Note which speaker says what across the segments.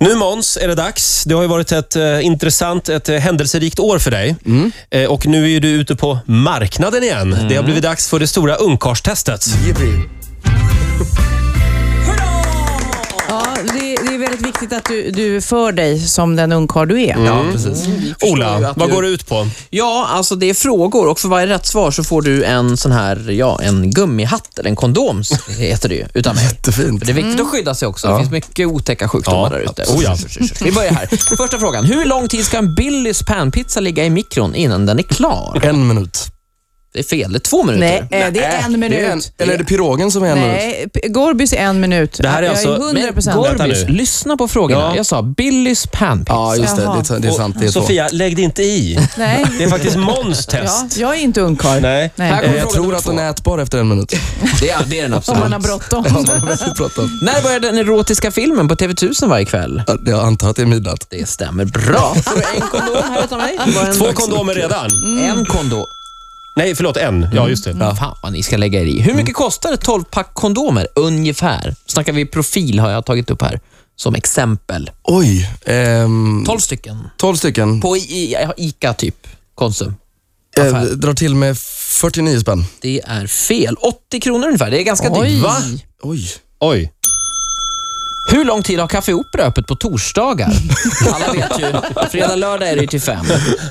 Speaker 1: Nu Måns, är det dags. Det har ju varit ett eh, intressant, ett eh, händelserikt år för dig. Eh, och nu är ju du ute på marknaden igen. Det har blivit dags för det stora ungkarlstestet.
Speaker 2: Jippie.
Speaker 3: Ja, det, det är väldigt viktigt att du, du för dig som den ungkarl du är.
Speaker 4: Mm,
Speaker 2: Ja, precis. Förstår ju
Speaker 1: Ola,
Speaker 2: att
Speaker 1: vad
Speaker 2: du-
Speaker 1: går det ut på?
Speaker 2: Ja, alltså det är frågor och för varje rätt svar så får du en sån här, ja, en gummihatt eller en kondom så heter det ju, utan mig.
Speaker 4: Jättefint.
Speaker 2: För det är viktigt att skydda sig också. Det finns mycket otäcka sjukdomar
Speaker 1: Ja,
Speaker 2: där ute. Mm.
Speaker 1: absolut. Oh,
Speaker 2: Vi börjar här. Första frågan. Hur lång tid ska en Billys panpizza ligga i mikron innan den är klar?
Speaker 4: En minut. Äh,
Speaker 2: Det är fel. Det är två minuter.
Speaker 3: Nej, eh, det är en minut.
Speaker 4: Det är en, eller är det pirogen som är en minut?
Speaker 3: Nej, P- Gorbys är en minut.
Speaker 1: Det här är
Speaker 3: jag
Speaker 1: alltså-
Speaker 3: är 100
Speaker 2: Men
Speaker 3: procent.
Speaker 1: Vänta
Speaker 2: Gorbis,
Speaker 1: nu.
Speaker 2: lyssna på frågorna.
Speaker 1: Ja.
Speaker 2: Jag sa Billys panpizza.
Speaker 4: Ja, just det. Det,
Speaker 3: Jaha.
Speaker 4: är- det är sant. Det är två.
Speaker 1: Sofia, lägg dig inte i.
Speaker 3: Nej,
Speaker 1: Det är faktiskt Måns test.
Speaker 3: ja, jag är inte ungkarl.
Speaker 1: Nej.
Speaker 2: Här
Speaker 3: Nej.
Speaker 4: Eh,
Speaker 2: kommer
Speaker 4: Jag
Speaker 2: fråga
Speaker 4: tror
Speaker 2: nummer
Speaker 4: att
Speaker 2: två.
Speaker 4: den är ätbar efter en minut.
Speaker 2: Det är, det är den
Speaker 3: Om
Speaker 2: absolut.
Speaker 3: man har bråttom.
Speaker 4: Ja, det är väldigt bråttom.
Speaker 2: När börjar den erotiska filmen på TV1000 varje kväll?
Speaker 4: Ja, Jag antar att det är midnatt.
Speaker 2: Det stämmer bra. Får du en kondom här utav mig? Det var en-
Speaker 1: Två kondomer redan.
Speaker 2: En kondom.
Speaker 1: Nej, förlåt, en. Ja, just det.
Speaker 2: Fan vad ni ska lägga er i. Hur mycket kostar ett 12-pack kondomer ungefär? Snackar vi profil har jag tagit upp här som exempel.
Speaker 4: Oj. Ehm,
Speaker 2: 12 stycken.
Speaker 4: 12 stycken.
Speaker 2: På I- I- Ica typ, Konsum.
Speaker 4: Eh, drar till med 49 spänn.
Speaker 2: Det är fel. 80 kronor ungefär. Det är ganska
Speaker 3: Oj.
Speaker 2: dyrt. Va?
Speaker 4: Oj.
Speaker 1: Oj.
Speaker 2: Hur lång tid har Café Opera öppet på torsdagar? Alla vet ju. Fredag, lördag är det ju till fem.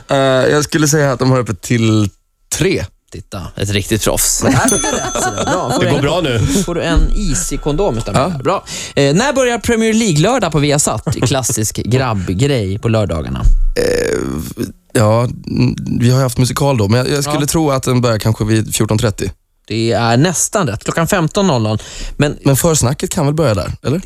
Speaker 4: Eh, jag skulle säga att de har öppet till tre.
Speaker 2: Titta, ett riktigt proffs. Här fick jag rätt, så det är bra. Får
Speaker 1: Det
Speaker 2: du
Speaker 1: går
Speaker 2: en-
Speaker 1: bra nu.
Speaker 2: får du en isig kondom utav mig. Bra. Eh, när börjar Premier League-lördag på Viasat? Klassisk grabbgrej på lördagarna.
Speaker 4: Ja, mm, vi har ju haft musikal då, men jag, jag skulle tro att den börjar kanske vid 14.30.
Speaker 2: Det är nästan rätt. Klockan 15.00. Men
Speaker 4: Men försnacket kan väl börja där, eller?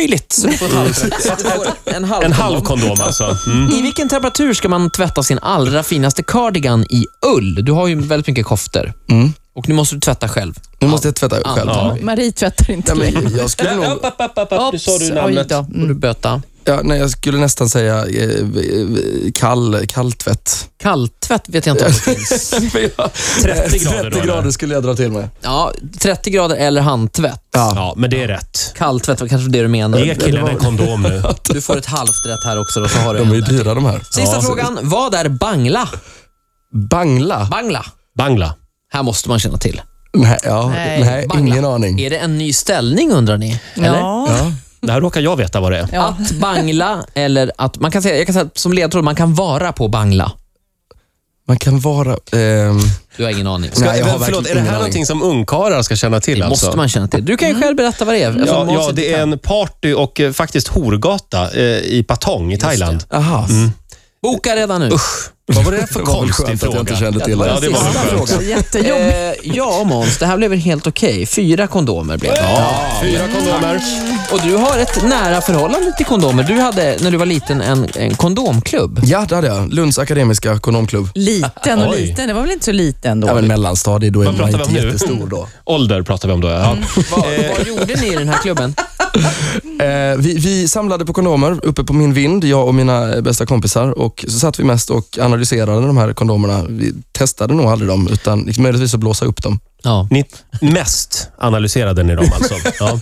Speaker 2: möjligt. Så du får ett halvt rätt. Du får en halv
Speaker 1: En
Speaker 2: kondom.
Speaker 1: halv kondom alltså. Mm.
Speaker 2: I vilken temperatur ska man tvätta sin allra finaste cardigan i ull? Du har ju väldigt mycket koftor. Och nu måste du tvätta själv.
Speaker 4: Nu måste jag tvätta själv.
Speaker 2: Antar
Speaker 4: Ja.
Speaker 2: vi.
Speaker 3: Marie tvättar inte.
Speaker 4: men jag, skulle nog,
Speaker 1: Upp, upp, upp, upp, upp. Nu sa
Speaker 3: Ops,
Speaker 1: du
Speaker 3: oj
Speaker 1: namnet.
Speaker 3: då. Mm.
Speaker 2: Får du böta.
Speaker 4: ja, nej, jag skulle nästan säga eh, eh, kall, kall tvätt.
Speaker 2: Kalltvätt vet jag inte om det finns.
Speaker 1: 30 grader då,
Speaker 4: 30
Speaker 1: eller?
Speaker 4: Eh, grader skulle jag dra till med.
Speaker 2: Ja, 30 grader eller handtvätt.
Speaker 1: Ja, men det är rätt.
Speaker 2: Kalltvätt var kanske det du menade.
Speaker 1: Ge killen en kondom nu.
Speaker 2: Du får ett halvt rätt här också. Då, så har du
Speaker 4: De är ju
Speaker 2: en där.
Speaker 4: dyra de här.
Speaker 2: Sista
Speaker 4: Ja.
Speaker 2: frågan. Vad är bangla?
Speaker 4: Bangla?
Speaker 2: Bangla.
Speaker 1: Bangla.
Speaker 2: Här måste man känna till.
Speaker 4: Nej, ja,
Speaker 3: Nej,
Speaker 4: nej,
Speaker 2: Bangla.
Speaker 4: ingen aning.
Speaker 2: Är det en ny ställning undrar ni? Eller?
Speaker 3: Ja.
Speaker 4: Ja.
Speaker 1: Det här råkar jag veta vad det är.
Speaker 3: Ja.
Speaker 2: Att bangla eller att... Man kan säga, jag kan säga som ledtråd, man kan vara på bangla.
Speaker 4: Man kan vara... ehm,
Speaker 2: Du har ingen aning.
Speaker 4: Ska-
Speaker 1: Nej,
Speaker 4: jag har
Speaker 1: förlåt, är
Speaker 4: verkligen
Speaker 1: det
Speaker 4: ingen
Speaker 1: här
Speaker 4: aning.
Speaker 1: någonting som ungkarlar ska känna till alltså?
Speaker 2: Måste man känna till. Du kan ju själv berätta vad det är. eftersom
Speaker 1: Ja,
Speaker 2: Måns
Speaker 1: ja,
Speaker 2: inte
Speaker 1: det
Speaker 2: kan.
Speaker 1: är en party och eh, faktiskt horgata eh, i Patong i Thailand.
Speaker 4: Aha.
Speaker 1: Mm.
Speaker 2: Boka redan nu.
Speaker 1: Vad var det för
Speaker 4: Det var väl
Speaker 1: konstig
Speaker 4: skönt att
Speaker 1: fråga?
Speaker 4: jag inte kände till det.
Speaker 1: Ja, det var väl
Speaker 2: Sista
Speaker 1: skönt.
Speaker 2: frågan.
Speaker 3: Jättejobbigt.
Speaker 2: Eh, ja, Måns, det här blev väl helt okej. Fyra kondomer blev det.
Speaker 1: Ja, fyra kondomer.
Speaker 2: Och du har ett nära förhållande till kondomer. Du hade, när du var liten, en, en kondomklubb.
Speaker 4: Ja, det hade jag. Lunds akademiska ekonomklubb.
Speaker 3: Liten och
Speaker 1: Oj.
Speaker 3: liten, det var väl inte så liten då?
Speaker 4: Ja, men mellanstadie, då är
Speaker 1: Vad
Speaker 4: man
Speaker 1: pratar vi
Speaker 4: inte
Speaker 1: om nu?
Speaker 4: jättestor då.
Speaker 1: Ålder pratar vi om då. Ja.
Speaker 2: Vad, vad gjorde ni i den här klubben?
Speaker 4: Eh, vi, vi samlade på kondomer uppe på min vind, jag och mina eh, bästa kompisar. Och så satt vi mest och analyserade de här kondomerna. Vi testade nog aldrig dem, utan liksom möjligtvis att blåsa upp dem.
Speaker 2: Ja.
Speaker 1: Ni mest analyserade ni dem alltså. Ja.